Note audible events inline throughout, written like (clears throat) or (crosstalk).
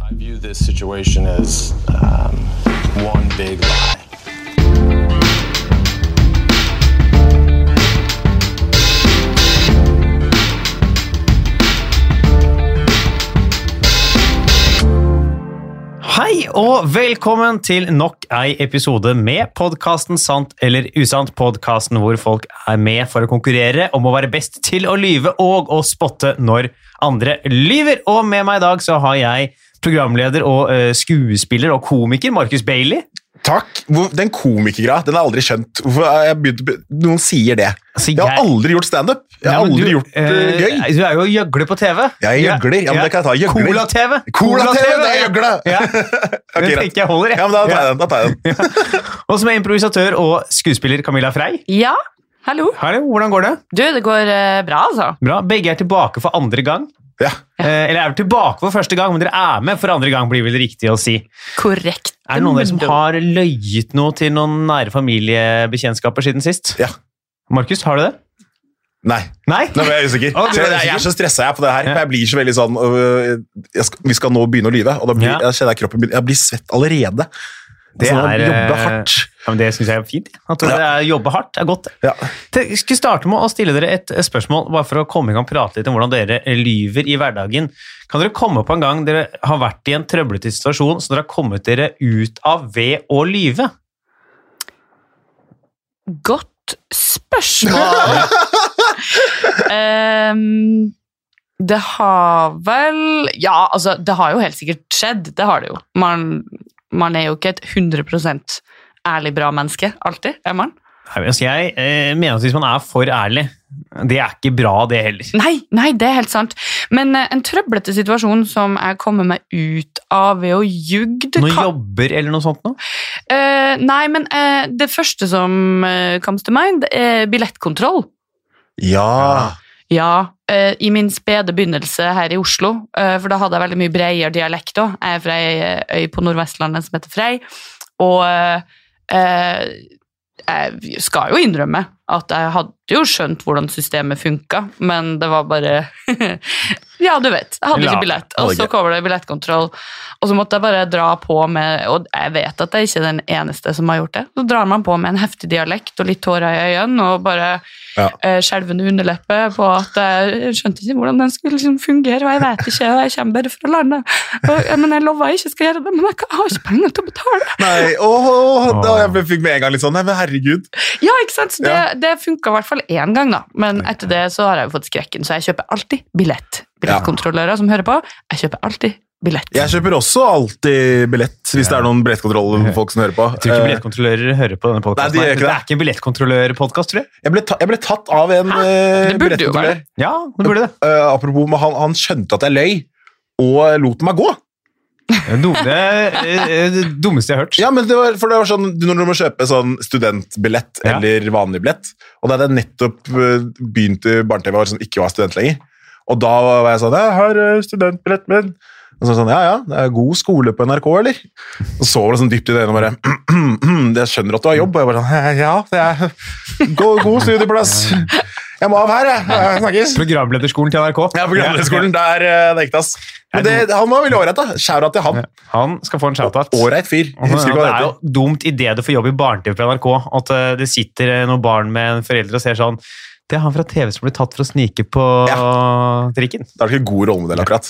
I view this situation as um, one big lie. Hei og velkommen til nok ei episode med podkasten Sant eller usant. Podkasten hvor folk er med for å konkurrere om å være best til å lyve og å spotte når andre lyver. Og med meg i dag så har jeg programleder og eh, skuespiller og komiker Markus Bailey. Takk. Hvor- Den komikergreia den har jeg aldri skjønt. Hvorfor har jeg begynt, noen sier det. Altså, Jeg har jeg- aldri gjort standup. Jeg har Ja, men aldri du, gjort det eh, gøy. Du er jo gjøgler på TV. Jeg er gjøgler. Ja, men det kan jeg ta. Gjøgler. Cola-TV. Cola-TV, det er gjøgle! (laughs) Ja. Ok, Det greit. tenker jeg holder, jeg. Ja, men da tar jeg den. Da tar jeg (laughs) den. Og som er improvisatør og skuespiller Camilla Frey. Ja, hallo. Hallo, hvordan går det? Du, det går eh, bra, altså. Bra. Begge er tilbake for andre gang. Ja. Eh, eller er vel tilbake for første gang, men dere er med for andre gang, blir vel riktig å si. Korrekt. Er det noen av dere som har løyet noe til noen nære familiebekjentskaper siden sist? Ja. Markus, har du det? Nei, Nei? nå ble jeg usikker. Ok, Så jeg, jeg er så stressa jeg på det her. for Jeg blir så veldig sånn øh, jeg skal, Vi skal nå begynne å lyve. Og da blir, Ja. jeg kjenner jeg kroppen min Jeg blir svett allerede. Det Det er er, Jobbe eh, hardt. Ja, men det syns jeg er fint. At Ja. dere jobber hardt det er godt. Ja. Te- Jeg skulle starte med å stille dere et spørsmål bare for å komme i gang og prate litt om hvordan dere lyver i hverdagen. Kan dere komme på en gang dere har vært i en trøblete situasjon som dere har kommet dere ut av ved å lyve? Godt spørsmål. Ehm, det har vel Ja, altså, det har jo helt sikkert skjedd. Det har det jo. Man, man er jo ikke et 100 ærlig bra menneske alltid, er man? Nei, men altså jeg eh, mener at hvis man er for ærlig, det er ikke bra det heller. Nei, nei, det er helt sant. Men eh, en trøblete situasjon som jeg kommer meg ut av ved å ljuge det Noen kan- jobber eller noe sånt nå? Eh, nei, men eh, det første som uh, comes to mind, er billettkontroll. Ja. Ja, eh, i min spede begynnelse her i Oslo, eh, for da hadde jeg veldig mye bredere dialekt òg. Jeg er fra ei eh, øy på Nordvestlandet som heter Frei, og eh, eh, jeg skal jo innrømme at jeg hadde jo skjønt hvordan systemet funka, men det var bare (laughs) Ja, du vet. Jeg hadde Ja, ikke billett. Og så Norge. kommer det billettkontroll, og så måtte jeg bare dra på med Og jeg vet at jeg ikke er den eneste som har gjort det. Så drar man på med en heftig dialekt og litt tårer i øynene og bare Ja. eh, skjelvende underleppe på at jeg skjønte ikke hvordan den skulle liksom fungere, og jeg vet ikke, og jeg kommer bare fra landet. Og, ja, men jeg lover jeg ikke skal gjøre det, men jeg kan- jeg har ikke penger til å betale. Nei, åh, da jeg fikk med en gang litt sånn Nei, men herregud. Ja, ikke sant? Så det, Ja. det funka i hvert fall én gang, da. Men etter det så har jeg jo fått skrekken, så jeg kjøper alltid billett. Billettkontrollører som hører på, jeg kjøper alltid billett. Jeg kjøper også alltid billett hvis det er noen billettkontrollfolk som hører på. Jeg tror ikke Eh, billettkontrollører hører på denne podkasten. Nei, de gjør det. ikke er ikke en billettkontrollørpodkast, tror jeg. Jeg ble, ta, jeg ble tatt av en eh, Det burde jo billettkontrollør. Ja, det burde det. Eh, apropos, men han, han skjønte at jeg løy, og lot meg gå. No, det, er det eh, dummeste jeg har hørt. Ja, men det var, for det var sånn, du- Når du må kjøpe sånn studentbillett Ja. eller vanlig billett Og da hadde jeg nettopp eh, begynt i barne-TV og som ikke var student lenger. Og da var jeg sånn Jeg har eh, studentbillett min. Og så sånn, ja, ja, det er god skole på NRK, eller? Og så var det sånn dypt i det øynene og bare (clears throat) Jeg skjønner at du har jobb. Og jeg bare sånn, ja, det er (laughs) god, god studieplass. Jeg må av her, jeg. jeg. Snakkes. Programlederskolen til NRK. Ja, på Grandskolen. Det er eh, det er ekte, ass. Men det, han var veldig ålreit, da. Skjæra til han. Han skal få en shout-out. Ålreit fyr. Jeg Det Husker ikke hva han er jo heter. dumt idet du får jobb i barne-TV på NRK, at eh, det sitter eh, noen barn med en forelder og ser sånn Det er han fra TV som ble tatt for å snike på trikken. Da er det ikke god rollemodell, akkurat.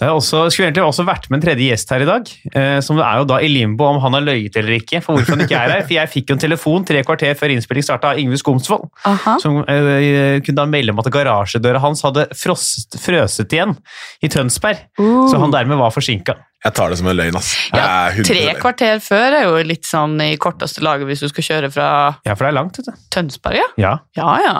Det er også, skulle egentlig også vært med en tredje gjest her i dag, eh, som er jo da i limbo om han har løyet eller ikke. For hvorfor han ikke er her, for jeg fikk jo en telefon tre kvarter før innspilling starta av Yngve Skomsvold, Aha. som eh, kunne da melde om at garasjedøra hans hadde frosset, frøset igjen i Tønsberg, Uh. så han dermed var forsinka. Jeg tar det som en løgn, ass. Ja, Jeg er 100 Tre løgn. kvarter før er jo litt sånn i korteste laget hvis du skal kjøre fra Ja, for det er langt, vet du. Tønsberg, ja. Ja. Ja, ja.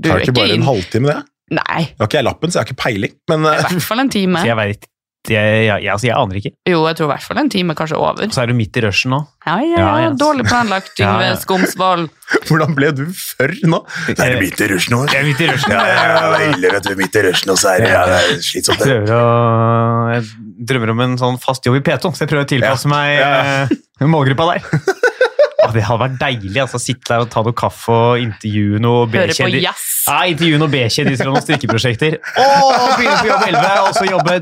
Du Tar er det ikke ikke bare inn. en halvtime, det? Nei, Nå har ikke jeg lappen, så jeg har ikke peiling. Men i eh, hvert fall en (laughs) time. Så jeg veit jeg, jeg, altså, jeg aner ikke. Jo, jeg tror i hvert fall en time, kanskje over. Og så er du midt i rushen nå. Ja, ja, Ja, ja. Dårlig planlagt, Ja, Yngve ja. Skomsvold. (laughs) hvordan ble du før nå? Det er midt i rushen nå. Jeg er midt i rushen. Ja, ja, ja, det er ille, vet du. Midt i rushen, og så er det, ja, det er slitsomt. det. Prøver å, jeg drømmer om en sånn fast jobb i P2, så jeg prøver å tilpasse meg Ja. eh, målgruppa der. (laughs) Ah, Ja, det hadde vært deilig altså, å sitte der og ta noe kaffe og intervjue noe Hører på B-kjendis- jazz. Ja, intervju noen B-kjendiser om noen strikkeprosjekter. Å, begynne på jobb 11, og så jobbe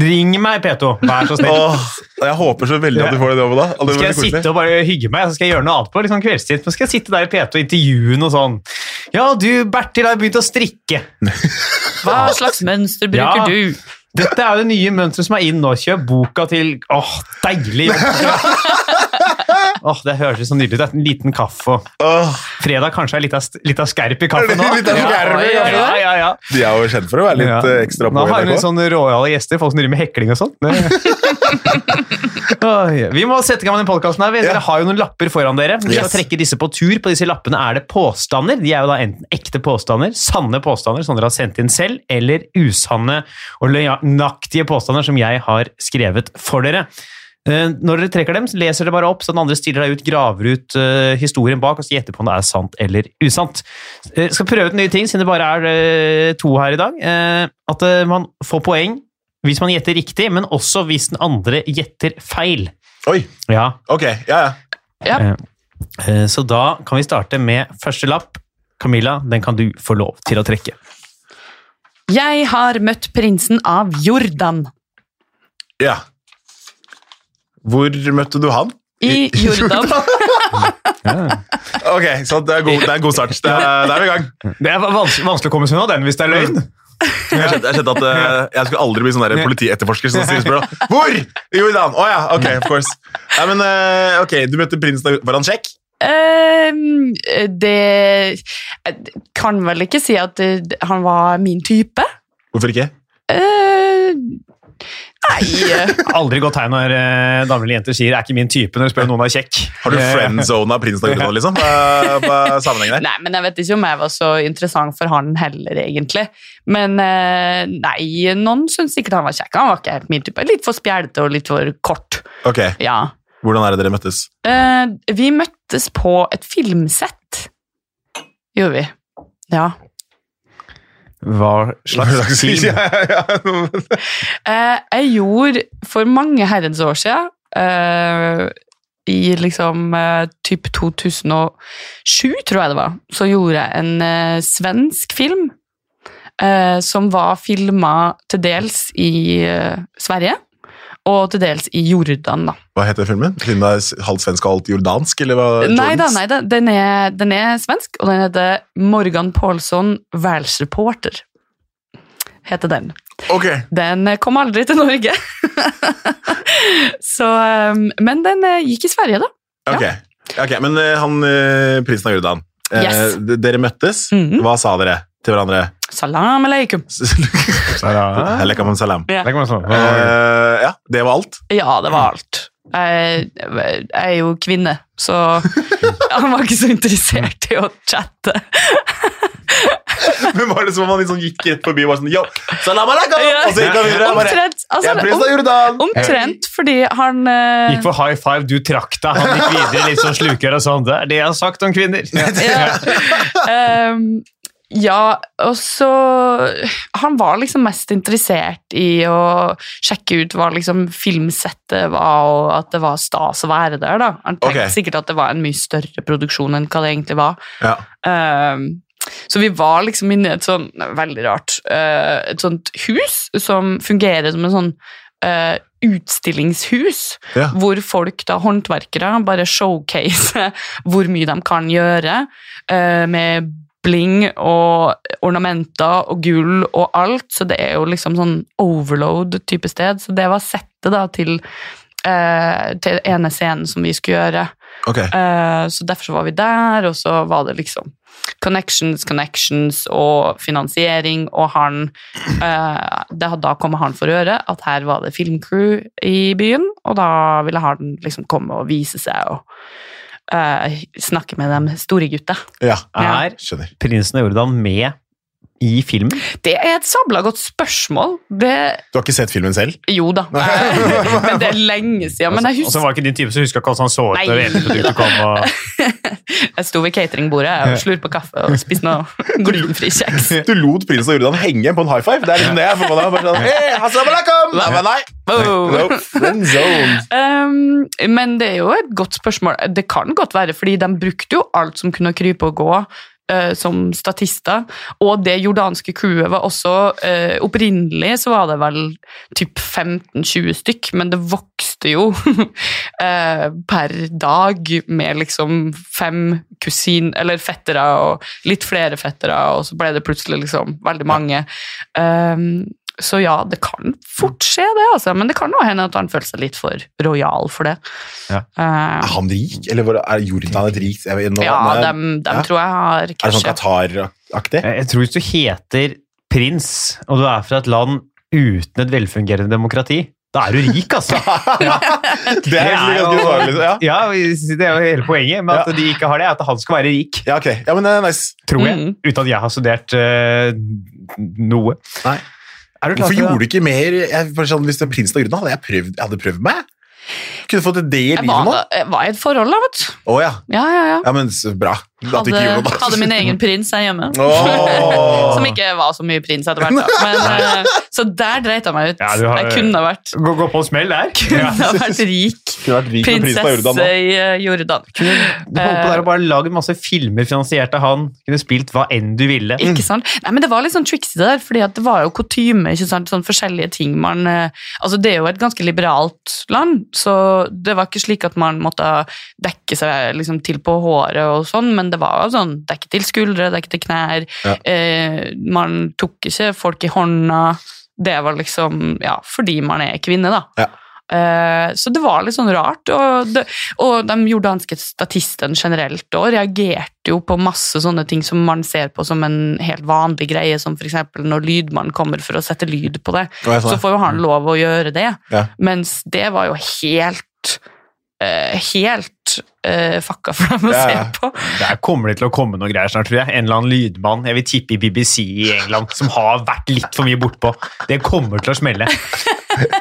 Ring meg, P2. Vær så snill. Åh, jeg håper så veldig at du får den jobben da. Og det Skal blir jeg koselig. sitte og bare hygge meg, så skal jeg gjøre noe annet på liksom kveldstid. Så skal jeg sitte der i P2 og intervjue noe sånn. Ja, du, Bertil, har begynt å strikke. Hva slags mønster Ja. bruker du? Dette er jo det nye mønsteret som er inn nå. Kjøp boka til Åh, deilig! (laughs) Åh, Det høres ut som nydelig ut. Det er En liten kaffe. og- Åh, Fredag kanskje er litt av, litt av skerp i Er kaffen det nå. (laughs) litt av skerp i ja, kaffen? ja, ja, ja. de er jo kjent for å være litt Ja. eh, ekstra på Nå har i vi NRK. sånne råjale gjester, folk som driver med hekling og sånt. Det- Oi, vi må sette i gang med den podkasten her. vi. Dere Ja. har jo noen lapper foran dere. Vi skal Yes. trekke disse på tur. På disse lappene er det påstander. De er jo da enten ekte påstander, sanne påstander som dere har sendt inn selv, eller usanne og løgnaktige påstander som jeg har skrevet for dere. Eh, Når dere trekker dem, så leser dere bare opp, så den andre stiller deg ut, graver ut eh, historien bak, og så gjetter på om det er sant eller usant. Eh, skal prøve ut nye ting, siden det bare er eh, to her i dag. Eh, at eh, man får poeng hvis man gjetter riktig, men også hvis den andre gjetter feil. Oi, Ja, ok, ja, ja. eh, Så da kan vi starte med første lapp. Camilla, den kan du få lov til å trekke. Jeg har møtt prinsen av Jordan. ja. Hvor møtte du han? I Jordan. Ok, så det er, god, det er en god start. Det er, der er vi i gang. Det er vanskelig, vanskelig å komme seg unna den hvis det er løgn. Jeg skjønte, jeg skjønte at eh, jeg skulle aldri bli sånn der politietterforsker som stiller spørsmål. Hvor? I Jordan? Å ja, ok, of course. Nei, men eh, ok, du møtte prinsen av Var han sjekk? Ehm, det jeg kan vel ikke si at det, han var min type. Hvorfor ikke? Ehm, nei eh, Aldri godt tegn når eh, damer eller jenter sier 'er ikke min type' når du spør om noen er kjekk. Har du Eh, friendzona prinsen av Jordan, liksom? Hva hva er sammenhengen der? Nei, men jeg vet ikke om jeg var så interessant for han heller, egentlig. Men eh, nei, noen syntes sikkert han var kjekk. Han var ikke helt min type. Litt for spjælete og litt for kort. Ok, Ja. hvordan er det dere møttes? Eh, vi møttes på et filmsett. Gjorde vi. Ja. Hva slags film? Eh, jeg gjorde for mange herrens år siden, eh, i liksom eh, typ 2007, tror jeg det var, så gjorde jeg en eh, svensk film eh, som var filma til dels i eh, Sverige og til dels i Jordan, da. Hva heter filmen? Siden det er halvt svensk og halvt jordansk? Eller hva? Nei da, Jordans? nei da. Den er, den er svensk, og den heter Morgan Paulsson, Værelsreporter. Heter den. Ok, Den kom aldri til (laughs) Norge. så, um, men den eh, gikk i Sverige, da. ok. Ok, Men eh, han, eh, prinsen av Jordan eh, Yes. d- Dere møttes. Mhm. Hva sa dere til hverandre? Salam aleikum. (laughs) Ja, Helekamam salam. det kan man sånn. Eh, ja, det var alt. (laughs) Ja, det var alt. Jeg, jeg er jo kvinne, (laughs) så han var ikke så interessert i å chatte. Men var det som om han liksom gikk rett forbi og var sånn Yo, salam alaikum! Og så gikk han videre. og Bare, Omtrent, altså, jeg er prins av Jordan! om- omtrent fordi han eh, Gikk for high five, du trakk deg. Han gikk videre litt sånn slukøra sånn. Det er det jeg har sagt om kvinner. (laughs) ja. Um, ja, og så Han var liksom mest interessert i å sjekke ut hva liksom filmsettet var, og at det var stas å være der. da. Han tenkte Ok. sikkert at det var en mye større produksjon enn hva det egentlig var. Ja. Um, så vi var liksom inne i et sånn veldig rart eh, et sånt hus som fungerer som en sånn eh, utstillingshus, Ja. hvor folk, da håndverkere, bare showcaser (laughs) hvor mye de kan gjøre eh, med bling og ornamenter og gull og alt, så det er jo liksom sånn overload-type sted. Så det var settet da til, eh, til ene scenen som vi skulle gjøre. Ok. Eh, Så derfor så var vi der, og så var det liksom connections, connections og finansiering, og han eh, det, had- Da kom han for øre at her var det filmcrew i byen, og da ville han liksom komme og vise seg og eh, snakke med de store gutta. Ja, Er skjønner. prinsen av Jordan med i filmen? Det er et sabla godt spørsmål. Det Du har ikke sett filmen selv? Jo da, men det er lenge siden. Men jeg Og så husker Altså, var ikke din type som huska hvordan han så ut. Nei. når eteproduktet kom, og... jeg sto ved cateringbordet og slurte på kaffe og spiste noe (laughs) glutenfri kjeks. (laughs) Du lot prinsen av Jordan henge på en high five? Det er liksom det jeg får på deg. Bare sånn, hey, assalamu alaikum! Nei, men nei. Wow. No, friend zone. Um, men det er jo et godt spørsmål. Det kan godt være, fordi de brukte jo alt som kunne krype og gå eh, som statister. Og det jordanske crewet var også eh, Opprinnelig så var det vel typ 15-20 stykk, men det vokste jo (laughs) eh, per dag med liksom fem kusin, eller fettere og litt flere fettere, og så ble det plutselig liksom veldig mange. Um, så ja, det kan fort skje det, altså. Men det kan jo hende at han føler seg litt for rojal for det. Ja. Eh, Er han rik, eller hvor- er Jordan et rikt jeg vet, nå, ja, nå er- dem, dem ja. tror jeg har Er det sånn cashet. Qatar-aktig? Eh, Jeg jeg tror hvis du heter prins, og du er fra et land uten et velfungerende demokrati, da er du rik, altså. (laughs) Det er egentlig ganske ufarlig. Ja. (laughs) ja, det er jo hele poenget med at de ikke har det, er at han skal være rik, ja, ok. Ja, men det er nice. tror jeg. Mm. Uten at jeg har studert eh, noe. Nei. Er du klar Hvorfor for gjorde det? du ikke mer? Jeg, bare sånn, hvis det er prinsen av Jordan, hadde jeg prøvd, jeg hadde prøvd meg. Kunne fått det i Jeg livet var, nå. jeg var i et forhold, da, vet du. Å ja. Ja, ja, ja. ja, men så bra. At du Hadde, ikke gjorde noe. hadde min egen prins her hjemme. Åh. (laughs) Som ikke var så mye prins etter hvert. Da. (laughs) Men, eh, så der dreit jeg meg ut. Ja, du har- jeg kunne vært, Gå, gå på en smell der. kunne (laughs) Ja. vært rik (laughs) Skulle vært rik med prinsen av Jordan prinsesse nå. i eh, Jordan. Du holdt på der og bare lagd masse filmer finansiert av han. Kunne spilt hva enn du ville. Ikke sant? Nei, men Det var litt sånn tricksy, det der, fordi at det var jo kutyme. ikke sant? Sånn forskjellige ting man eh, Altså, Det er jo et ganske liberalt land, så det var ikke slik at man måtte dekke seg liksom til på håret og sånn, men det var jo sånn dekke til skuldre, dekke til knær. Ja. Eh, man tok ikke folk i hånda. Det var liksom Ja, fordi man er kvinne, da. Ja. Eh, Så det var litt sånn rart. Og, det, og de jordanske statistene generelt også reagerte jo på masse sånne ting som man ser på som en helt vanlig greie, som f.eks. når lydmannen kommer for å sette lyd på det, Å, jeg sa så det. får jo han lov å gjøre det. sånn, Ja. Mens det var jo helt eh, Helt eh, fucka for dem å Ja, se ja. på. Mm. Der kommer det til å komme noen greier snart, tror jeg. En eller annen lydmann, jeg vil tippe i BBC i England, som har vært litt for mye bortpå. Det kommer til å (laughs) smelle.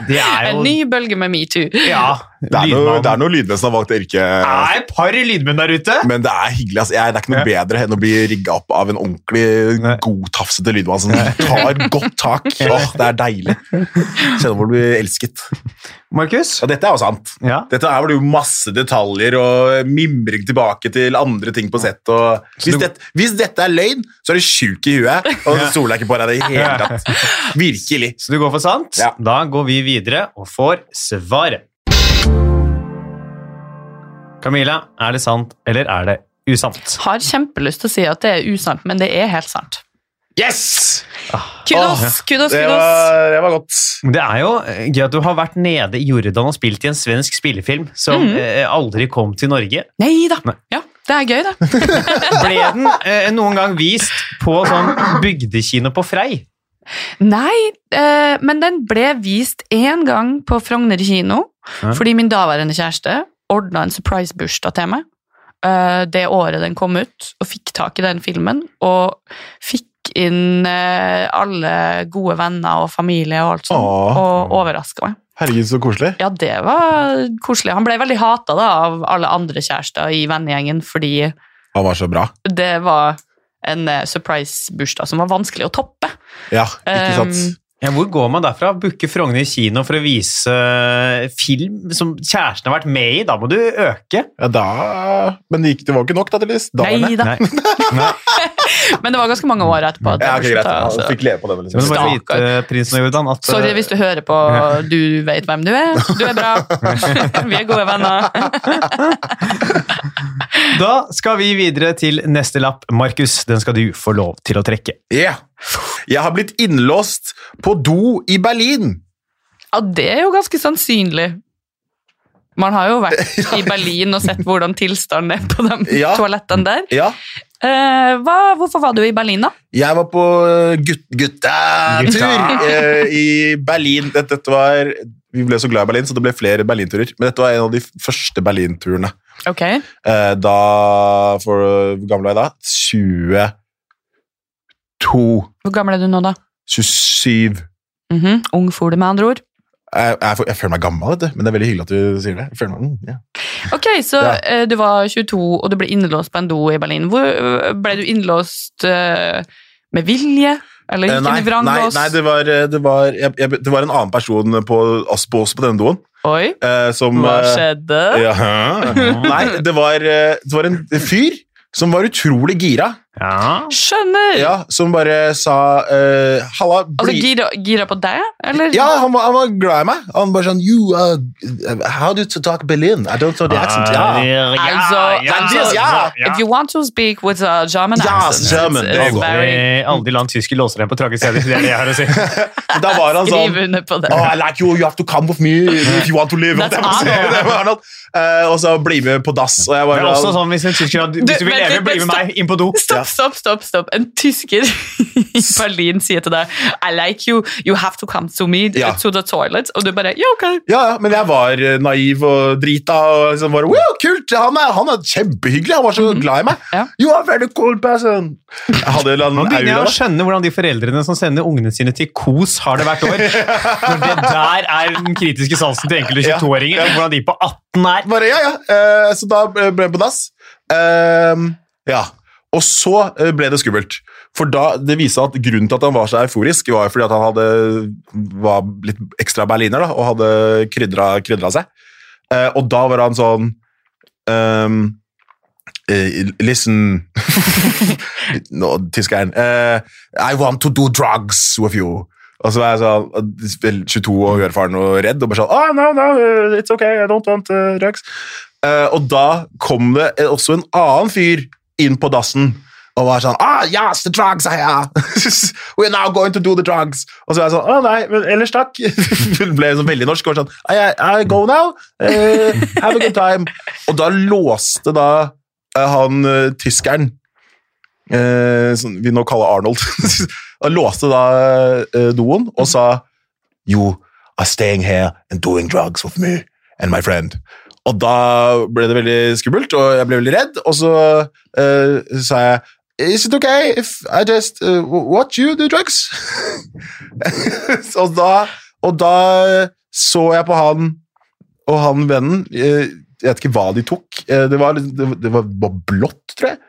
Det er En jo ny bølge med metoo. Ja, Det er noe, lydmann. det er noe lydmenn som har valgt yrke. Det er et par lydmenn der ute. Men det er hyggelig. Altså. Jeg, det er ikke noe bedre enn å bli rigga opp av en ordentlig Nei. godtafsete lydmann som tar godt tak. (laughs) Åh, det er deilig. Kjenner hvor du blir elsket. Markus? Og dette er jo sant. Ja. Dette er vel jo masse detaljer og mimring tilbake til andre ting på sett. Og hvis, du- dette, hvis dette er løgn, så er du sjuk i huet, og så stoler jeg ikke på deg i det hele (laughs) tatt. Virkelig. Så du går for sant? Ja. Da går vi videre og får svaret. Camilla, er det sant eller er det usant? Har kjempelyst til å si at det er usant, men det er helt sant. Yes! Kudos, kudos, Det kudos! var, det var godt. Det er jo eh, gøy at du har vært nede i Jordan og spilt i en svensk spillefilm som eh, aldri kom til Norge. Nei da. Nei. Ja, det er gøy, det. Ble den eh, noen gang vist på sånn bygdekino på Frei? Nei, eh, men den ble vist én gang på Frogner kino, Ja. fordi min daværende kjæreste ordna en surprise-bursdag til meg eh, det året den kom ut, og fikk tak i den filmen, og fikk inn eh, alle gode venner og familie og alt sånt, Åh. og overraska meg. Herregud, så koselig. Ja, det var koselig. Han ble veldig hata av alle andre kjærester i vennegjengen, fordi Han var så bra. det var en eh, surprise-bursdag som var vanskelig å toppe. Ja, ikke sant? Um, Ja, hvor går man derfra? Booke Frogner kino for å vise eh, film som kjæresten har vært med i? Da må du øke. Ja, da Men det, gikk, det var jo ikke nok, da, tydeligvis. Da var det. Nei da. Nei. Nei. Men det var ganske mange år etterpå. at det Ja, ok, greit. sluttet, Han altså. fikk leve på den. Men du Liksom. må bare Stakkar. vite, prinsen av Jordan, at eh, Sorry hvis du hører på, du vet hvem du er. Du er (laughs) bra. Vi er gode venner. da skal vi videre til neste lapp. Markus, den skal du få lov til å trekke. Yeah. Jeg har blitt innlåst på do i Berlin. Ja, det er jo ganske sannsynlig. Man har jo (laughs) vært i Berlin og sett hvordan tilstanden er på de Ja. toalettene der. Ja. Eh, hva, hvorfor var du i Berlin, da? Jeg var på gut guttatur Gutta. (laughs) eh, i Berlin. Dette, dette var, vi ble så glad i Berlin, så det ble flere Berlinturer. Men dette var en av de første Berlinturene. Ok, Eh, da For hvor gammel var jeg da? 22. Hvor gammel er du nå, da? 27. Mhm, Ung fole, med andre ord. eh, Jeg, jeg, jeg føler meg gammel, vet du. men det er veldig hyggelig at du sier det. Jeg føler meg, mm, ja. Ok, Så Ja. eh, du var 22, og du ble innlåst på en do i Berlin. Hvor, eh, ble du innlåst eh, med vilje? Eller Eh, gikk Nei, nei, inn i vranglås? nei det, var, eh, det, var, jeg, jeg, det var en annen person på, oss, på oss på denne doen Oi, eh, som hva eh, skjedde? (laughs) Ja. Nei, det var, eh, det var en fyr som var utrolig gira. Ja. Skjønner! Ja, som bare sa eh, Halla, Altså, bli gira, gira på deg, eller? Ja, han var, han var glad i meg. Han bare sånn You, uh, how do you talk Berlin? I don't know the accent. Ja. Altså, altså, ja. If you want to speak with a German Ja, accent, German, it's- det it's går. very- Eh, Aldri la en tysker låse deg på trange steder. Det er det jeg har å (laughs) si. Men Da var han sånn Skriv under på det. Oh, I like you, you have to come with me if you want to live. That's (laughs) Det var- sånn, det var Arnold. Eh, og så bli med på dass. Og jeg Det bare, er også sånn hvis en tysker har Hvis du vil vent litt, leve, bli med vent, stopp. meg inn på do. (laughs) Stopp, stopp, stopp, stopp. En tysker (laughs) i Berlin sier til deg I like you, you have to come to me Ja. to the toilet. Og du bare, ja, ok. Ja, ja, men jeg var eh, naiv og drita. Og liksom bare, wow, kult, han er, han er kjempehyggelig, han var Mhm. så glad i meg. Ja. You are a very cool person. Jeg hadde en eller Nå annen begynner jeg aura. å skjønne hvordan de foreldrene som sender ungene sine til kos, har det hvert år. Når det der er den kritiske sansen til enkelte 22-åringer. og Hvordan de på 18 er. Bare, ja, ja. Eh, så da ble ble jeg på dass. Ehm, ja. Og så eh, ble det skummelt. For da, det viste seg at grunnen til at han var så euforisk, var jo fordi at han hadde, var litt ekstra berliner da, og hadde krydra, krydra seg. Eh, og da var han sånn ehm, eh, Listen Nå, tyskeren. eh, I want to do drugs with you. Og så er jeg sånn, vel, 22 og uerfaren og redd, og bare sånn oh, no, no, it's okay, I don't want uh, drugs. Eh, og da kom det også en annen fyr inn på dassen og var sånn ah, yes, the drugs are here. (laughs) We're now going to do the drugs. Og så er jeg sånn, å nei, men ellers takk. (laughs) Hun ble sånn veldig norsk og var sånn, I, I go now, Eh, have a good time. Og da låste da eh, han eh, tyskeren, eh, som vi nå kaller Arnold, (laughs) han låste da eh, doen og sa, you are staying here and doing drugs with me and my friend. Og da ble det veldig skummelt, og jeg ble veldig redd, og så eh, sa jeg, Is it okay if I just eh, watch you do drugs? (laughs) og, da, og da så jeg på han og han vennen, eh, jeg vet ikke hva de tok, Eh, det var, det, det var bare blått, tror jeg.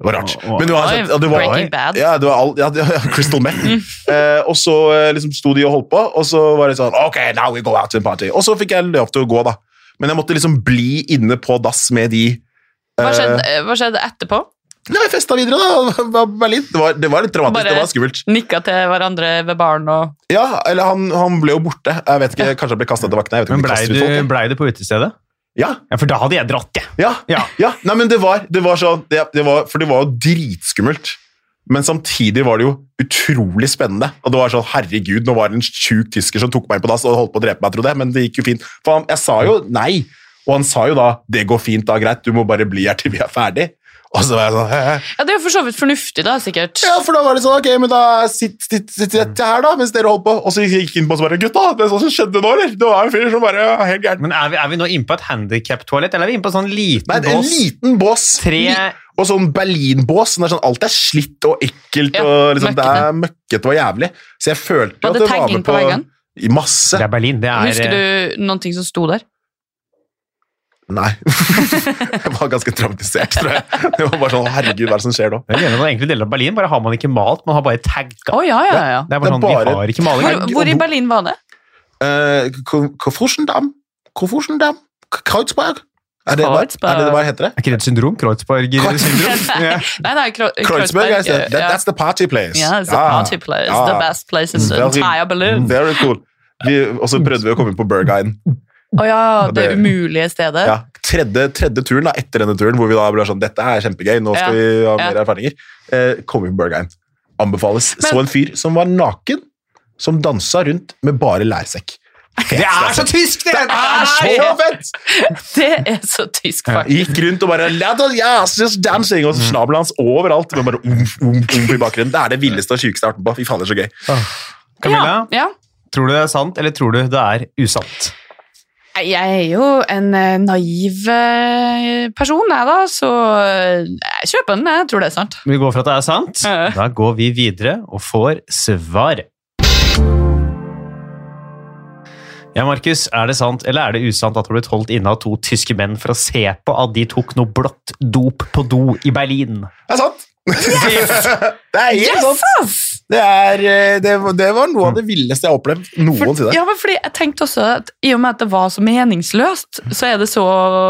Det var rart. Oi, Men det var, oi, ja, det var, Breaking Bad. Mm. Ja, det var all, ja, (laughs) det- ja, Crystal Meth. Eh, og så eh, liksom sto de og holdt på, og så var det sånn Ok, now we go out to a party. Og så fikk jeg lov til å gå, da. Men jeg måtte liksom bli inne på dass med de Hva skjedde, eh, hva skjedde etterpå? Nei, festa videre, da. (laughs) Det var Berlin. Det var, det var litt dramatisk. Bare- Det var skummelt. Nikka til hverandre ved baren og Ja, eller han, han ble jo borte. Jeg vet ikke, Kanskje han ble kasta til vaktene. Jeg vet ikke Men om de blei kaster du, ut folk, blei du på utestedet? ja. Ja, Ja, for da hadde jeg dratt, jeg. ja, Ja. ja, Nei, men det var, det var sånn det, det var, For det var jo dritskummelt. Men samtidig var det jo utrolig spennende. Og det var sånn, herregud, nå var det en sjuk tysker som tok meg på dass og holdt på å drepe meg, trodde jeg, men det gikk jo fint. For han, jeg sa jo nei, og han sa jo da 'det går fint, da, greit, du må bare bli her til vi er ferdig'. Og så var jeg sånn Hæ? Ja, det er jo for så vidt fornuftig, da, sikkert. Ja, for da var det sånn, ok, men da sitter sitt, sitt, sitt jeg her da, mens dere holdt på. Og så gikk jeg inn på oss og bare, gutta, det er sånn som skjedde nå, eller? Det var en fyr som bare, ja, helt gæren. Men er vi, er vi nå inne på et handikap-toalett, eller er vi inne på sånn liten Nei, det er en bås? liten bås. Tre Og sånn Berlin-bås, sånn der sånn, alt er slitt og ekkelt, Ja, og liksom, det møkkete. er møkket og jævlig. Så jeg følte Var jo at det det var tagging med på på... veggen? I masse. Det er Berlin. Det er eh, Husker du noen ting som sto der? Nei. (laughs) jeg var ganske traumatisert, tror jeg. Det var bare sånn, herregud, hva er det som skjer nå? Det er det enkelte deler av Berlin, bare har man ikke malt, man har bare tagga. Å, ja, ja, ja. Det er bare det er sånn, vi bare- har ikke (laughs) maling. Hvor, hvor i Berlin var det? Eh, Ko- Koforsendam? Koforsendam? K- Kreuzberg? Er det, hva, er det det bare heter det? Er ikke det et syndrom? Kreuzberger-syndrom? Nei, nei, Kro- (laughs) Kreuzberg, altså. Kreuzberg, I said. That, ja. that's the party place. Yeah, it's a Ja, party place. ja. The best place in the Ah. Very- entire Berlin. Very cool. Vi, og så prøvde vi å komme inn på Bergheim. Å ja, det Det- umulige stedet. Ja, tredje, tredje turen da, etter denne turen, hvor vi da ble sånn, dette er kjempegøy, nå skal Ja, vi ha ja. mer erfaringer. Eh, kom inn på Bergheim. Anbefales. Men- så en fyr som var naken, som dansa rundt med bare lærsekk. Det er så tysk, det! Det er så fett! (laughs) Det er så tysk, faktisk. Gikk rundt og bare "Let us- yes, just dancing, og så Mm. snabelen hans overalt. Men bare umf, umf, umf i bakgrunnen. Det er det villeste og sjukeste jeg har vært med på. Fy faen, det er så gøy. Camilla, Ja, ja. tror du det er sant, eller tror du det er usant? Nei, Jeg er jo en eh, naiv eh, person, jeg da, så eh, jeg kjøper den, jeg tror det er sant. Vi går for at det er sant. Ja. Da går vi videre og får svar. Ja, Markus, er det sant eller er det usant at du ble holdt inne av to tyske menn for å se på at de tok noe blått dop på do i Berlin? Det er sant. (laughs) Det er helt Yes, sant! ass! Det, er, eh, det, var- det var noe av det villeste jeg har opplevd noensinne. For, ja, men fordi jeg tenkte også at I og med at det var så meningsløst, så er det så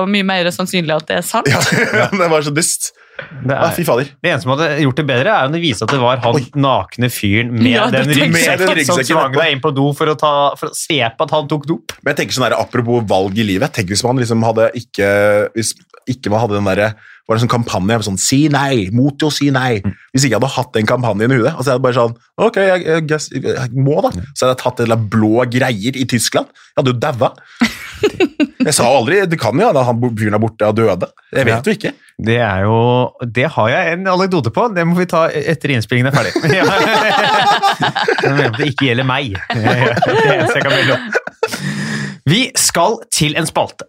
mye mer sannsynlig at det er sant. (laughs) Ja, det var så dust. Det, Ja, fy er, fader. Ah, det eneste som hadde gjort det bedre, er om det viste at det var han nakne fyren med Ja, det den tenkte jeg. Med den ryggsekken som ryggsekken tvang etterpå. deg inn på do for å, ta, for å se på at han tok dop. Men jeg tenker sånn der, Apropos valg i livet Tenk hvis man liksom hadde ikke Hvis ikke man hadde den der, var det en sånn kampanje med sånn 'si nei', mot til å si nei. Mm. Hvis ikke jeg hadde hatt den kampanjen i hodet altså jeg hadde bare sånn, ok, jeg, jeg, guess, jeg må da, Så hadde jeg tatt en eller annen blå greier i Tyskland. Jeg hadde jo daua. (laughs) Jeg sa jo aldri Det kan jo hende han bo- fyren er borte og døde. Jeg vet jo ikke. Det er jo Det har jeg en anekdote på. Det må vi ta etter innspillingen er ferdig. Ja. Jeg mener at det ikke gjelder meg. Det er det eneste jeg kan melde om. Vi skal til en spalte.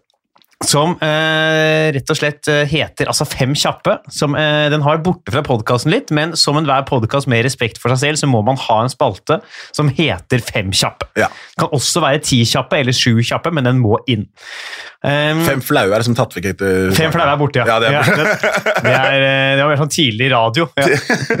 Som eh, rett og slett eh, heter altså Fem kjappe. Som, eh, den har borte fra podkasten litt, men som enhver podkast med respekt for seg selv, så må man ha en spalte som heter Fem kjappe. Ja. Det kan også være ti kjappe eller sju kjappe, men den må inn. Um, Fem flaue er det som tatt vekk etter Fem flaue er borte, ja. Ja, det er borte. det, det, er, eh, det var mer sånn tidlig radio. (laughs)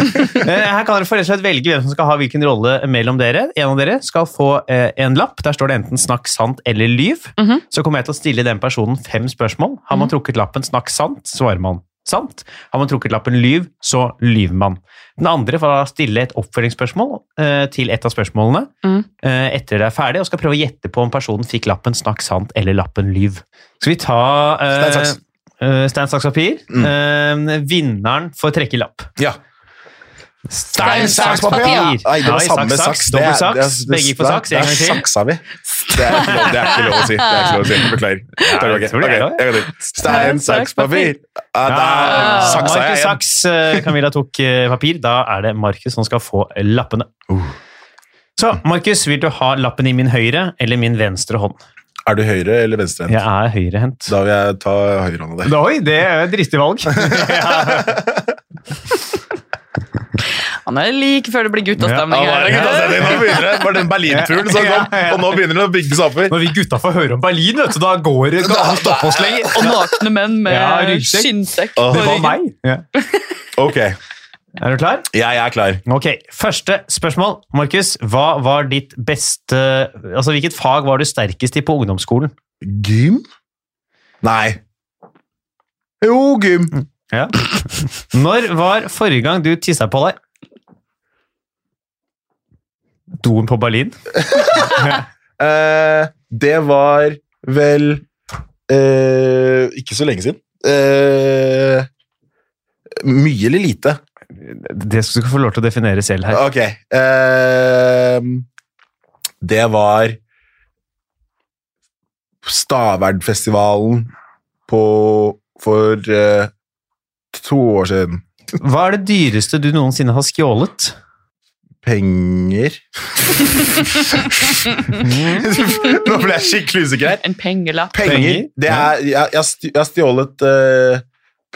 Ja. Eh, Her kan dere for rett og slett velge hvem som skal ha hvilken rolle mellom dere. En av dere skal få eh, en lapp. Der står det enten 'snakk sant' eller 'lyv'. Så kommer jeg til å stille den personen fem spørsmål. Har man trukket lappen 'snakk sant', svarer man sant. Har man trukket lappen 'lyv', så lyver man. Den andre får da stille et oppfølgingsspørsmål eh, til et av spørsmålene Mhm. eh, etter det er ferdig, og skal prøve å gjette på om personen fikk lappen 'snakk sant' eller lappen 'lyv'. Skal vi ta eh, Stein, saks. Mm. eh, Stein, saks, papir? Eh, vinneren får trekke lapp. Ja. Stein, saks, papir! Nei, det var Nei, samme saks, saks. saks, Det er- dobbelt saks. det er- det- Begge gikk for saks, Der en gang til. saksa vi. Det er ikke lov, det er ikke lov å si. Det er ikke lov å si. Beklager. Takk, ok. jeg tror det er lov, Ok, ja. en gang til. Stein, saks, papir! Ja, Ja, der saksa jeg Markus igjen. Saks, eh, Camilla tok eh, papir. Da er det Markus som skal få eh, lappene. Uh. Så, Markus, vil du ha lappen i min høyre eller min venstre hånd? Er du høyre eller venstrehendt? Jeg er høyrehendt. Da vil jeg ta høyrehånda di. Da, Oi, det er et dristig valg. Han er like før det blir Ja, nå guttastemning. er det her. guttastemning. Nå begynner det. Var den Berlinturen som Ja, kom, ja, ja. og nå begynner det å bygge seg oppover. Når vi gutta får høre om Berlin, vet du, da går det ikke an å stoppe oss lenger. Og nakne menn med Ja, ryggsekk. skinnsekk. Åh. på Det var ryggen. meg. Ja. Ok, Er du klar? jeg er klar. Ok, Første spørsmål. Markus, hva var ditt beste Altså, hvilket fag var du sterkest i på ungdomsskolen? Gym? Nei. Jo, gym. Ja. Når var forrige gang du tissa på deg? Doen på Berlin? Eh, det var vel eh, Ikke så lenge siden. Eh, mye eller lite? Det skal du få lov til å definere selv her. Ok. eh, det var Stavernfestivalen på For eh, to år siden. Hva er det dyreste du noensinne har skjålet? Penger (laughs) Nå ble jeg skikkelig usikker her. En pengelapp. Penger? Penger? Det er, jeg, jeg har sti- jeg har stjålet eh,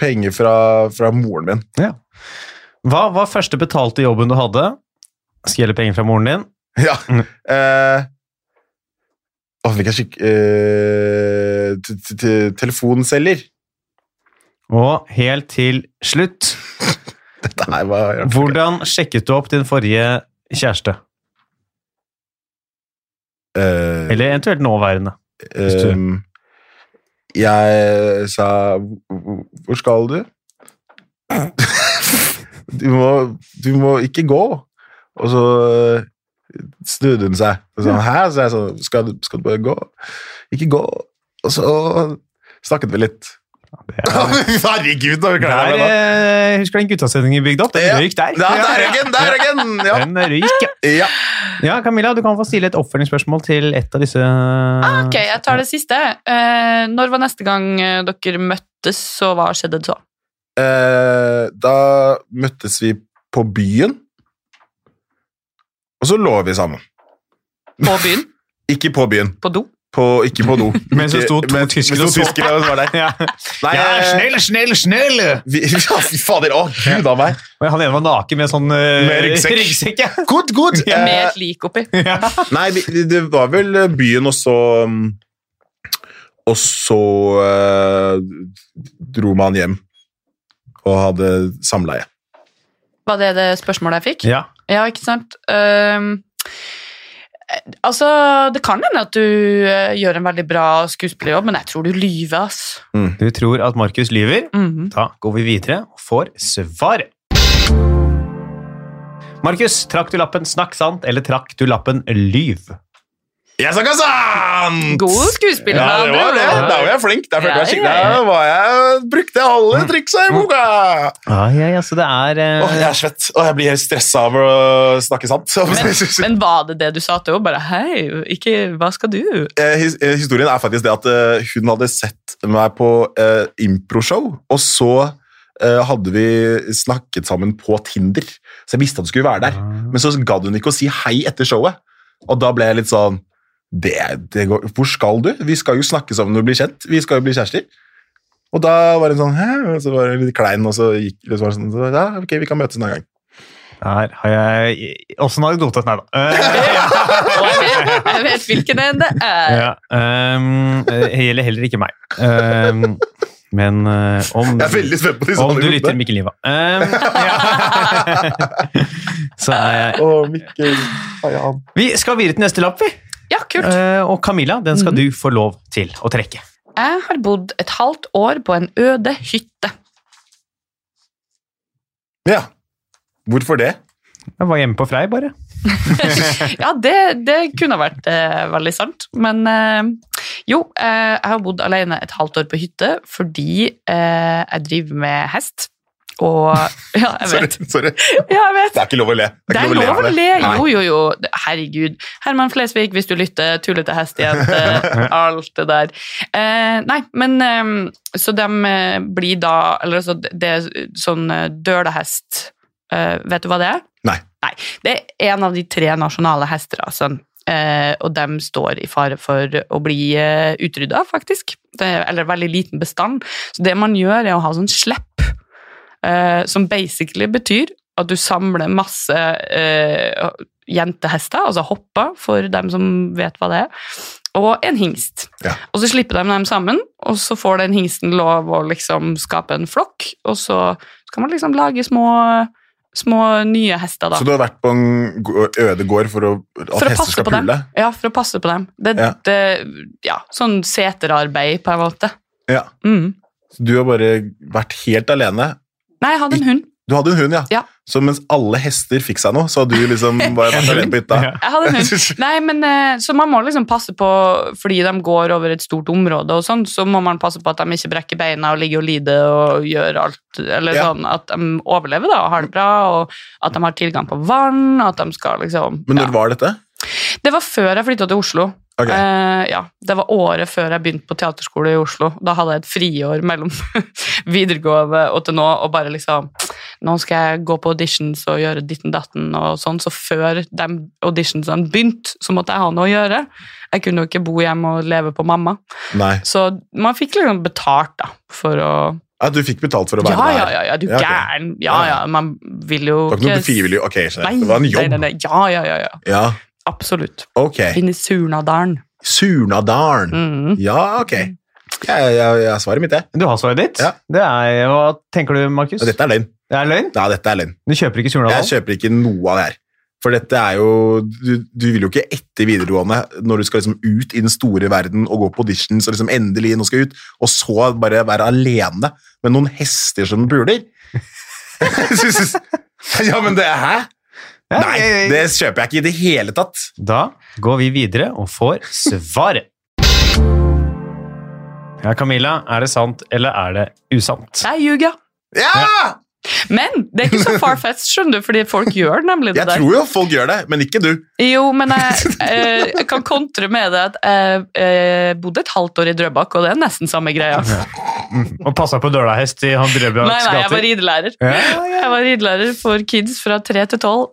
penger fra, fra moren min. (laughs) Hva var første betalte jobben du hadde? Skjelle penger fra moren din? Ja. Mm. Eh, Å, fikk jeg skikk... Eh, t- t- t- telefonselger. Og helt til slutt, Dette her var hvordan sjekket du opp din forrige kjæreste? Eh, Eller eventuelt nåværende? hvis du- ehm, Jeg sa "Hvor- Hvor skal du? (laughs) du, må, du må ikke gå. Og så eh, snudde hun seg. Og sånn, Hæ? Så jeg sånn skal, du- skal du bare gå? Ikke gå. Og så snakket vi (laughs) litt. Herregud, nå klarer Der, jeg meg nå. eh, husker du den guttasendingen vi bygde opp? Den Ja. røyk der. Ja, der er den! Der er den! Ja. Den røyk, ja. ja. Ja, Camilla, du kan få stille et oppfølgingsspørsmål til et av disse Ah, Ok, jeg tar det siste. Eh, når var neste gang eh, dere møttes, og hva skjedde så? Eh, da møttes vi på byen, og så lå vi sammen. På byen? Ikke på byen. På (laughs) do? På, ikke på do. (laughs) Mens det Ikke- sto to mens- tyskere mens to og så på. tyskere og så var der. (laughs) Ja. Nei, eh, snill, snill! vi, (laughs) ja, fy fader. Å, gud av meg. (laughs) Og han ene var naken med sånn eh, Med ryggsekk. ja. Good, good. Med Eh, et lik oppi. Ja. nei, vi, det var vel eh, byen, og så um, Og så eh, dro man hjem og hadde samleie. Var det det spørsmålet jeg fikk? Ja. Ja, ikke sant? Ehm, eh, altså, det kan hende at du eh, gjør en veldig bra skuespillerjobb, men jeg tror du lyver, ass. Du tror at Markus lyver. Mhm. Da går vi videre og får svaret. Markus, trakk du lappen 'snakk sant' eller trakk du lappen 'lyv'? Jeg snakka sant! God skuespiller, Ja, det med var andre det. ord. Der var jeg flink. Der følte Ja, jeg skikkelig ja, ja. Der var jeg, brukte jeg alle Mm. triksa i boka! Ja, Ah, ja, ja, så det er Mm. eh, Åh, jeg er svett, og jeg blir helt stressa av å snakke sant. (laughs) Men var det det du sa til henne? Bare hei, ikke hva (laughs) skal du? Eh, his- eh, Historien er faktisk det at eh, hun hadde sett meg på eh, improshow, og så eh, hadde vi snakket sammen på Tinder. Så jeg visste at du skulle være der. Men så gadd hun ikke å si hei etter showet. Og da ble jeg litt sånn det, det går, Hvor skal du? Vi skal jo snakke sammen og bli kjent. Vi skal jo bli kjærester. Og da var hun sånn Hæ? Og så var hun litt klein, og så gikk det sånn så, Ja, ok, vi kan møtes en annen gang. Der har jeg også en anekdote. Nei da. Eh, Og jeg vet, jeg vet hvilken en det er. (laughs) ja, ehm, det gjelder heller ikke meg. Ehm, men eh, om Jeg er veldig spent på disse om du anekdotene. lytter Mikkel Niva. Ehm, ja. (laughs) Så er jeg Å, Mikkel. Hei, han. Vi skal videre til neste lapp, vi. Ja, kult. Eh, og Camilla, den skal du få lov til å trekke. Jeg har bodd et halvt år på en øde hytte. Ja. Hvorfor det? Jeg var hjemme på Frei, bare. Ja, det, det kunne ha vært eh, veldig sant. Men eh, jo, eh, jeg har bodd alene et halvt år på hytte fordi eh, jeg driver med hest. Og (laughs) Ja, jeg Sorry. vet. sorry. Ja, jeg vet. Det er ikke lov å le. Det er lov å av det. le! Nei. Jo, jo, jo. Herregud. Herman Flesvig, hvis du lytter, tullete hestejente, alt det der. Eh, nei, men eh, Så de eh, blir da Eller altså, det er sånn eh, dølehest eh, Vet du hva det er? Nei. Nei. Det er en av de tre nasjonale hesterasene. Eh, og de står i fare for å bli eh, utrydda, faktisk. Det er, eller veldig liten bestand. Så det man gjør, er å ha sånn slepp, eh, som basically betyr at du samler masse eh, jentehester, altså hopper, for dem som vet hva det er, og en hingst. Ja. Og så slipper de dem sammen, og så får den hingsten lov å liksom skape en flokk, og så kan man liksom lage små, små nye hester, da. Så du har vært på en gå- øde gård for å, at For å hester passe skal på dem. pule? Ja, for å passe på dem. Det, Ja. det, ja, sånn seterarbeid, på en måte. Ja. Mm. Så du har bare vært helt alene. Nei, jeg hadde en hund. Du hadde en hund, ja. Ja. Så mens alle hester fikk seg noe, så har du (laughs) liksom bare vært alene på hytta? Ja. Jeg hadde en hund. (laughs) Nei, men eh, Så man må liksom passe på, fordi de går over et stort område, og sånn, så må man passe på at de ikke brekker beina og ligger og lider og gjør alt Eller Ja. sånn at de overlever da, og har det bra, og at de har tilgang på vann. At de skal liksom Men når ja. var dette? Det var før jeg flytta til Oslo. Ok. Eh, ja, Det var året før jeg begynte på teaterskole i Oslo. Da hadde jeg et friår mellom (laughs) videregående og til nå, og bare liksom Nå skal jeg gå på auditions og gjøre ditten datten og sånn, så før de auditionsene begynte, så måtte jeg ha noe å gjøre. Jeg kunne jo ikke bo hjemme og leve på mamma. Nei. Så man fikk liksom betalt, da, for å Ja, du fikk betalt for å være Ja, ja, der? ja, ja du Ja, ok. gæren. Ja, ja, man vil jo Det var ikke noe frivillig Ok, jeg skjønner. Det var en jobb. Eh. Nei, nei, nei. Ja, ja, ja, ja. Ja, Absolutt. ok. Inn i Surnadalen. Surnadalen. Mm. Ja, ok. Jeg, jeg, jeg svarer mitt, jeg. Du har svaret ditt. Ja. Det er, hva tenker du, Markus? Og Det dette er løgn. er løgn? Ja, dette er løgn. Du kjøper ikke Jeg Surnadal? kjøper ikke noe av det her. For dette er jo du, du vil jo ikke etter videregående, når du skal liksom ut i den store verden og gå på auditions og liksom endelig nå skal jeg ut, og så bare være alene med noen hester som puler. (laughs) ja, men det Hæ? Ja, Nei, jeg- det kjøper jeg ikke i det hele tatt. Da går vi videre og får svaret. Ja, Camilla, er det sant eller er det usant? Jeg ljuger. Ja! Men det er ikke (laughs) så far-fetched, skjønner du, fordi folk gjør nemlig det Jeg tror jo folk gjør det, men ikke du. Jo, men jeg, eh, jeg kan kontre med det at jeg eh, bodde et halvt år i Drøbak, og det er nesten samme greia. Og passa på dølahest i han Nei, Drøbaks nei, jeg var gater? ridelærer. Ja, Jeg var ridelærer for kids fra tre til tolv.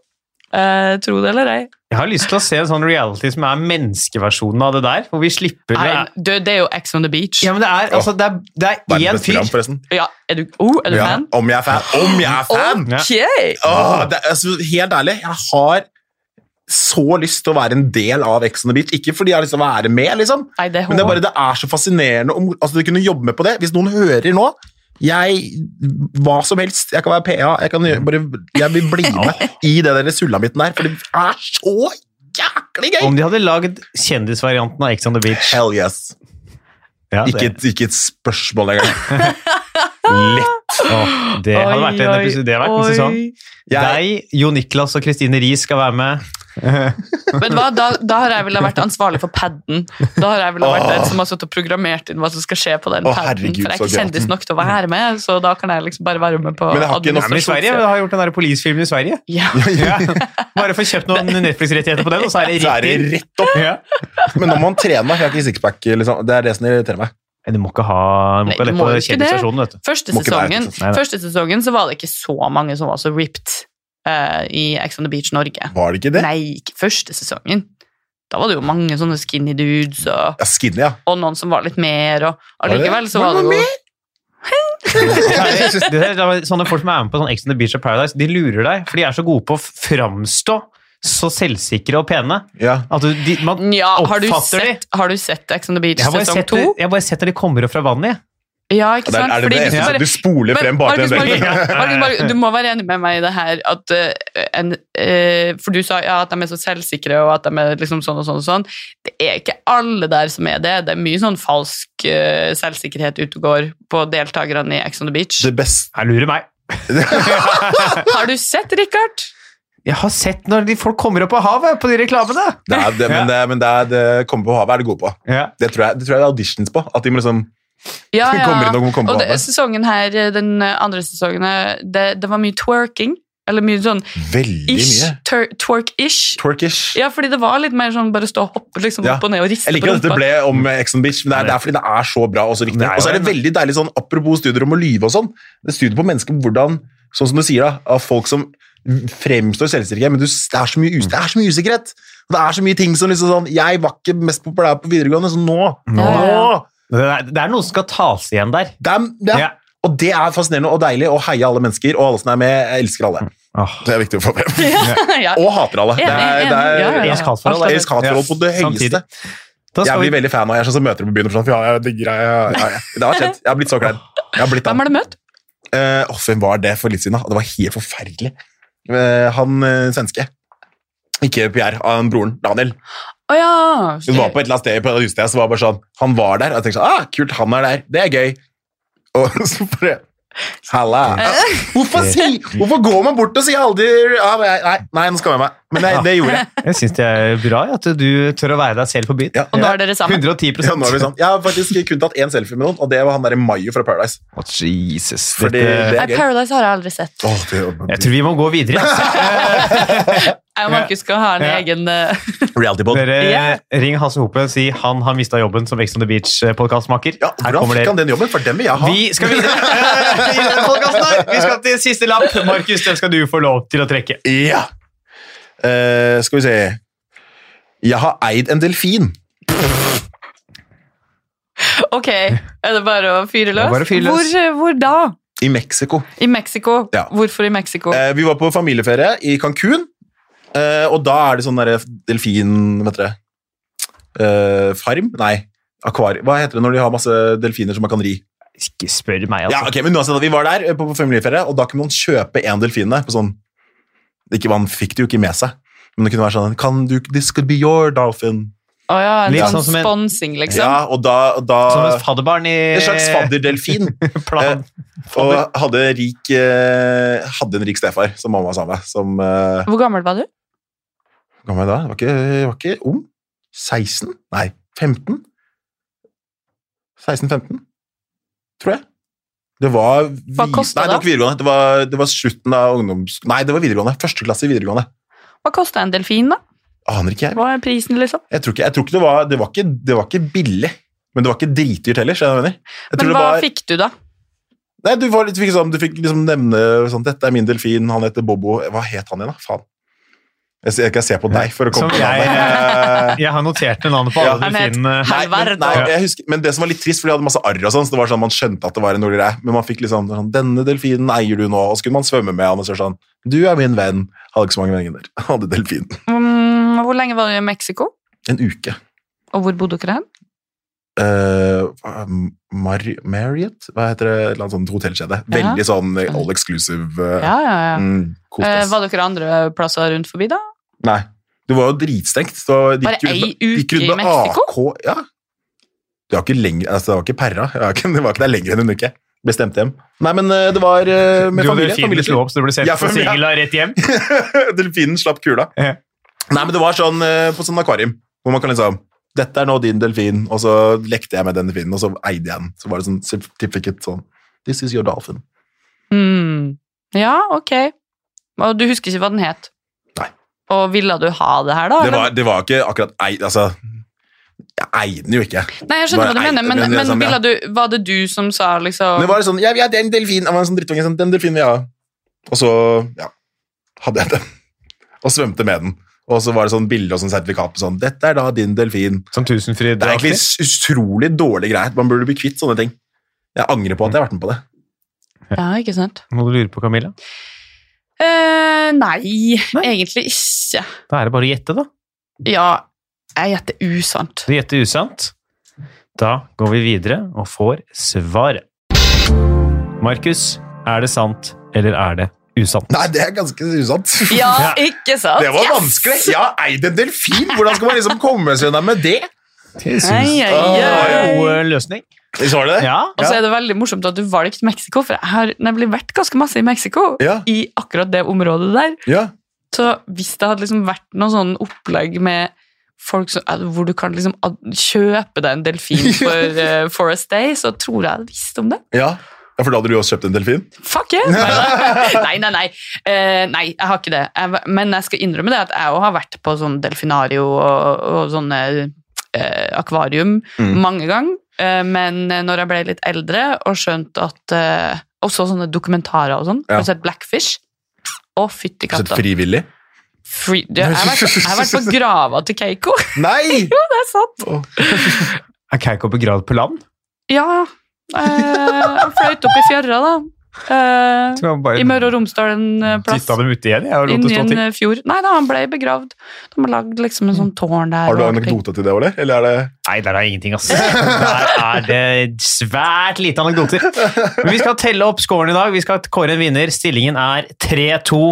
Eh, tro det eller ei. Jeg har lyst til å se en sånn reality som er menneskeversjonen av det der. Hvor vi slipper Nei, du, det er jo Ex on the Beach. Ja, men det er, altså, det er, det er én Verdens beste fyr program, forresten. Ja, er du, oh, er du Ja. fan? Om jeg er fan. Om jeg er fan! Ja. Ok! Åh, det, er- altså, helt ærlig, jeg har så lyst til å være en del av Ex on the Beach. Ikke fordi jeg har lyst til å være med, liksom. Nei, det er Men det er hår. bare det er så fascinerende om, altså, du kunne jobbe med på det. Hvis noen hører nå Jeg Hva som helst. Jeg kan være PA. Jeg, kan gjøre, bare, jeg vil (laughs) bli med i det der sulamitten der, for det er så jæklig gøy! Om de hadde lagd kjendisvarianten av Ex on the Beach Hell yes. ja, Ikke det, et, ikke et spørsmål engang. Lett! Å, det hadde vært en, Oi, episode, det hadde vært oi. en sesong. Jeg, Deg, Jo Niklas og Kristine Riis skal være med. Men hva, da, da har jeg vel vært ansvarlig for paden. Da har jeg vel vært den som har suttet og programmert inn hva som skal skje på den Å, padden. herregud, For jeg er så ikke gøy. kjendis nok til å være med, så da kan jeg liksom bare være med på Men jeg har ikke Ja, men i Sverige har jeg gjort den der polisfilmen i Sverige. Ja. Ja. (laughs) Bare få kjøpt noen Netflix-rettigheter på den, og så er det så er det (laughs) riktig. rett opp. Ja. Men nå må han trene meg. Jeg har ikke sixpack. Liksom. Det er det som irriterer meg. Nei, Du må ikke ha du må ikke ha Nei, du det må på jo ikke det. kjendisstasjonen, (laughs) vet du. Første Må ikke være sånn. sesongen, det, nei, nei. første sesongen så var det ikke så mange som var så ripped eh, i Ex on the Beach Norge. Var det ikke det? Nei, ikke første sesongen. Da var det jo mange sånne skinny dudes og, Ja, skinny, (laughs) ja. og noen som var litt mer, og det- allikevel så var var det det noe jo Nei, det der- det er Sånne folk som er med på sånn Ex on the Beach og Paradise, de lurer deg, for de er så gode på å framstå så selvsikre og pene. ja. At du, de, man, Nja, har du, Oppfatter de? sett, har du sett Ex on the Beach jeg har bare sesong sett to? det- jeg har bare sett at de kommer opp fra vannet. jeg. Ja, ikke Der, sant? er det Fordi det hvis du eneste? bare- Du spoler Men frem bare til Markus, en Markus, vegg. Markus, Markus, du må være enig med meg i det her at eh, en, eh, For du sa ja, at de er så selvsikre, og at de er liksom sånn og sånn og sånn. Det er ikke alle der som er det. Det er mye sånn falsk eh, selvsikkerhet ute og går på deltakerne i Ex on the Beach. Det (laughs) beste Jeg lurer meg. Har du sett, Richard? Jeg har sett når de folk kommer opp av havet på de reklamene. det er, det, men det, men det, er, det kommer på havet er det gode på. Ja. Det tror jeg det, tror jeg det er auditions på. At de må liksom Ja, ja. kommer inn og kommer på Og det, havet. sesongen her, eh, den eh, andre sesongen, eh, det, det var mye twerking. Eller mye sånn Veldig ish, mye. twer- twerk-ish. Twerkish. Ja, fordi det var litt mer sånn bare stå og hoppe liksom, Ja. opp og ned og riste Jeg liker på at dette rumpa. ble om Ex on Beach, men det er, det er fordi det er så bra og så riktig. Det er jo Og så er det det. veldig deilig sånn, apropos studier om å lyve og sånn, det er studier på mennesker hvordan, sånn som du sier da, av folk som fremstår selvsikre, men du, det, er så mye, us- det er så mye usikkerhet. Og det er så mye ting som liksom sånn, jeg var ikke mest populær på videregående, så nå, nå, Ja, ja, Det er, det er noe som skal tas igjen der. det er, det er, Ja. Og det er fascinerende og deilig å heie alle mennesker, og alle som er med, jeg elsker alle. Åh. Mm. Det er viktig å få frem. (laughs) ja. Og hater alle. Det er, Enig, det er, enig. Ja, ja, ja. Elias Kalsvold, Alt er- Elsker hatforhold på det Ja, samtidig. høyeste. Da Jeg skal vi, blir veldig fan av jeg er sånn som møter dem på byen og sånn, for ja, jeg digger deg. Ja, ja, ja. Det har skjedd. Jeg har blitt så klein. Jeg har blitt Hvem har du møtt? Eh, åh, hvem var det for litt siden? da? Det var helt forferdelig. Eh, han eh, svenske. Ikke Pierre, han broren Daniel. Å ja! Hun var på et eller annet sted på et utsted, så var det bare sånn Han var der. Og jeg tenkte sånn Ah, kult, han er der. Det er gøy. Og (laughs) så bare Halla. Hvorfor, si, hvorfor går man bort og sier aldri ah, men jeg- Nei, nei, nå skal jeg med meg. Men nei, det gjorde jeg. (laughs) jeg syns det er bra at du tør å være deg selv på byen. Ja. Og nå er dere sammen. 110 Ja, nå er vi sånn. Jeg har faktisk kun tatt én selfie med noen, og det var han derre Mayo fra Paradise. Å, Jesus. Fordi dette- det Nei, er gøy. Paradise har jeg aldri sett. Åh, Jeg det, tror vi må gå videre. (laughs) Jeg og Markus skal ha en Ja. egen eh, (laughs) reality pod. Dere Ja. Ring Hasse Hope og si han har mista jobben som Ex on the Beach-podkastmaker. Ja, hvordan fikk han den jobben? For den vil jeg ha. Vi skal (laughs) videre Eh, i denne podcasten her. Vi skal til siste lapp. Markus, den skal du få lov til å trekke. Ja. Eh, skal vi se Jeg har eid en delfin. Ok, er det bare å fyre Det løs? er bare å fyre løs. Hvor, eh, hvor da? I Mexico. I Mexico? Ja. Hvorfor i Mexico? Eh, vi var på familieferie i Cancún, eh, og da er det sånn derre delfin Vet dere eh, Farm? Nei. Akvar. Hva heter det når de har masse delfiner som man kan ri? Ikke spør meg, Ja, altså. ok, men uansett, Vi var der eh, på på familieferie, og da kunne man kjøpe én delfin der. på sånn ikke, Man fikk det jo ikke med seg, men det kunne være sånn Can you, This could be your dolphin. Å ja, en litt sånn sånn som en- sponsing, liksom. Ja, og da, og da Som et fadderbarn i En slags fadderdelfin. plan. Og hadde, rik, eh, hadde en rik stefar som mamma var sammen med. Som eh, Hvor gammel var du? hvor gammel var jeg da? Var ikke, var ikke ung. 16? Nei, 15? 16-15, tror jeg. Det var vi- Hva kostet Nei, det var det? ikke videregående. Det var, det var slutten av ungdoms... Nei, det var videregående. Første klasse i videregående. Hva kosta en delfin, da? Aner ikke jeg. Hva er prisen, liksom? Jeg tror ikke, jeg tror ikke det var Det var ikke, det var ikke billig. Men det var ikke dritdyrt heller. skjønner du hva jeg mener? Jeg tror Men det hva var- fikk du, da? Nei, du, var litt, fikk sånn, du fikk liksom nevne sånn, Dette er min delfin, han heter Bobo Hva het han igjen da? Faen Jeg, ser- jeg kan se på deg for å komme Som på jeg- eh, navnet Jeg har notert navnet på alle Eh. Ja. Han het- delfinene. Nei, men, Helvete. nei, jeg husker, men det som var litt trist, for de hadde masse arr og sånn, så det var sånn, man skjønte at det var en dårlig greie, men man fikk liksom sånn, denne delfinen eier du nå, og så kunne man svømme med han, og så sånn, du er min venn, hadde ikke så mange (laughs) venner, hadde delfinen. Mm, hvor lenge var du i Mexico? En uke. Og hvor bodde dere hen? Eh, hva M- Mar Marriott? Hva heter det? Et eller annet sånt hotellkjede. Veldig sånn all exclusive. eh, Ja, ja, ja. Mm, kost, Eh, ass. var dere andre plasser rundt forbi, da? Nei. Du var jo dritstengt. Så de Bare gikk rundt ei med- de gikk uke rundt i med Mexico? AK, ja. Det var ikke, lenger, altså, det var ikke perra. Det var ikke, det var ikke der lenger enn en uke. Bestemte hjem. Nei, men eh, det var eh, med du og familie. delfinen familietur. slo opp, så du ble sendt Ja, på familie. singla rett hjem. (laughs) Delfinen slapp kula. Ja. Nei, men det var sånn eh, på sånn akvarium, hvor man kan liksom Dette er nå din delfin, og så lekte jeg med den delfinen, og så eide jeg den. Så var det sånn certificate sånn This is your dolphin. Mm. Ja, ok. Og du husker ikke hva den het? Nei. Og ville du ha det her, da? Det eller? var, det var ikke akkurat eid, altså Jeg eide den jo ikke. Nei, jeg skjønner Bare hva du ei- mener, men, men det er men sånn, ja. ville du, var det du som sa liksom Men det var sånn Jeg vil ha den delfinen. Jeg var en sånn drittunge sånn Den delfinen vil jeg ha. Og så, ja, hadde jeg den. Og svømte med den. Og så var det sånn bilde og sånn sertifikat på sånn Dette er da din delfin. Som tusenfryd. Det er egentlig utrolig dårlig greit. Man burde bli kvitt sånne ting. Jeg angrer på at jeg har vært med på det. Ja, ikke sant? Må du lure på, Camilla? Eh, nei, Nei. egentlig ikke. Da er det bare å gjette, da. Ja, jeg gjetter usant. Du gjetter usant. Da går vi videre og får svaret. Markus, er det sant, eller er det usant? Nei, det er ganske usant. (laughs) Ja, ikke sant? Det var Yes! vanskelig. Jeg har eid en delfin! Hvordan skal man liksom komme seg unna med det? Det syns Ai, jeg ai, var en ai. eh, god eh, løsning. Så var det det? Ja. Og så er det veldig morsomt at du valgte Mexico, for jeg har nemlig vært ganske masse i Mexico. Ja. I akkurat det området der. ja. Så hvis det hadde liksom vært noe sånn opplegg med folk som, eh, hvor du kan liksom ad- kjøpe deg en delfin (laughs) for eh, Forest Day, så tror jeg jeg hadde visst om det. ja. Ja, For da hadde du jo også kjøpt en delfin? Fuck yeah! (laughs) Nei, nei, nei. nei. Eh, nei, jeg har ikke det. Jeg, var- men jeg skal innrømme det at jeg òg har vært på sånn delfinario og, og sånne eh, akvarium Mm. mange ganger. Eh, men når jeg ble litt eldre og skjønte at eh, Også sånne dokumentarer og sånn. Ja. Har du sett Blackfish? Å, fytti Sett katta. frivillig? (laughs) Free- Ja, Jeg har vært- jeg (laughs) har vært på grava til Keiko. Nei! Det er sant. Er Keiko begravd på land? Ja. Eh, jeg fløyt opp i fjæra, da. Eh, Tror jeg bare I Møre og Romsdal en eh, plass. Titta dem ute igjen, jeg, og lot Inni det stå en til. eh, fjord. Nei da, han ble begravd. De har lagd liksom en sånn tårn der. Har du og en allting. anekdote til det, Ole? Eller er det Nei, der er ingenting, ass. Der er det svært lite anekdoter. Men vi skal telle opp scoren i dag. Vi skal kåre en vinner. Stillingen er 3-2,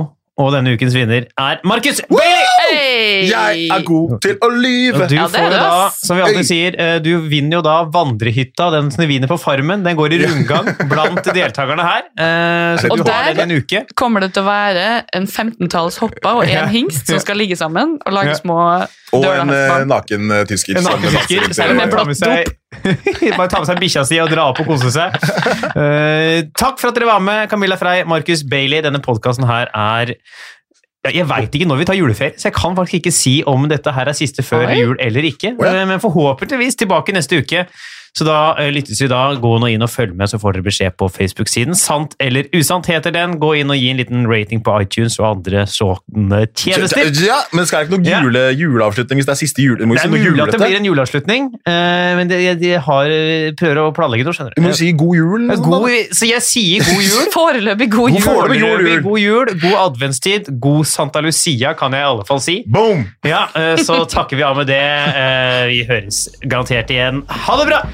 og denne ukens vinner er Markus Bailey! Hey! Jeg er god til å lyve! Og du Ja, det får er jo det, da, ass. som vi alltid sier, eh, du vinner jo da vandrehytta, den som du vinner på Farmen. Den går i rundgang blant deltakerne her. Eh, Så Og du har der- den i en uke. Kommer det til å være en 15-talls hoppa og en hingst som skal ligge sammen og Ja. lage små Og en eh, dørhetsbarn? naken eh, tysker. En som naken danser fisker, rundt så er det i- med bare å ta med seg, (laughs) bare ta med seg bikkja si og dra opp og kose seg. Eh, takk for at dere var med, Camilla Frey, Markus Bailey. Denne podkasten her er Ja, jeg veit ikke når vi tar juleferie, så jeg kan faktisk ikke si om dette her er siste før Oi. jul eller ikke. Å ja. Eh, Men forhåpentligvis tilbake neste uke. Så da eh, lyttes vi da. Gå nå inn og følg med, så får dere beskjed på Facebook-siden. Sant eller usant heter den. Gå inn og gi en liten rating på iTunes og andre sånne tjenester. Ja, men skal det ikke noe Ja. jule, juleavslutning hvis det er siste jule? Det er mulig at det blir en juleavslutning, eh, men det- jeg de har, eh, prøver å planlegge noe, skjønner Du må jo si god jul. eller Eh, noe God, sånt, så jeg sier god (laughs) jul. Foreløpig God god jul. foreløpig god jul. god jul, god adventstid, god Santa Lucia kan jeg i alle fall si. da. Boom! Ja, eh, Så takker vi av med det. Eh, Vi høres garantert igjen. Ha det bra!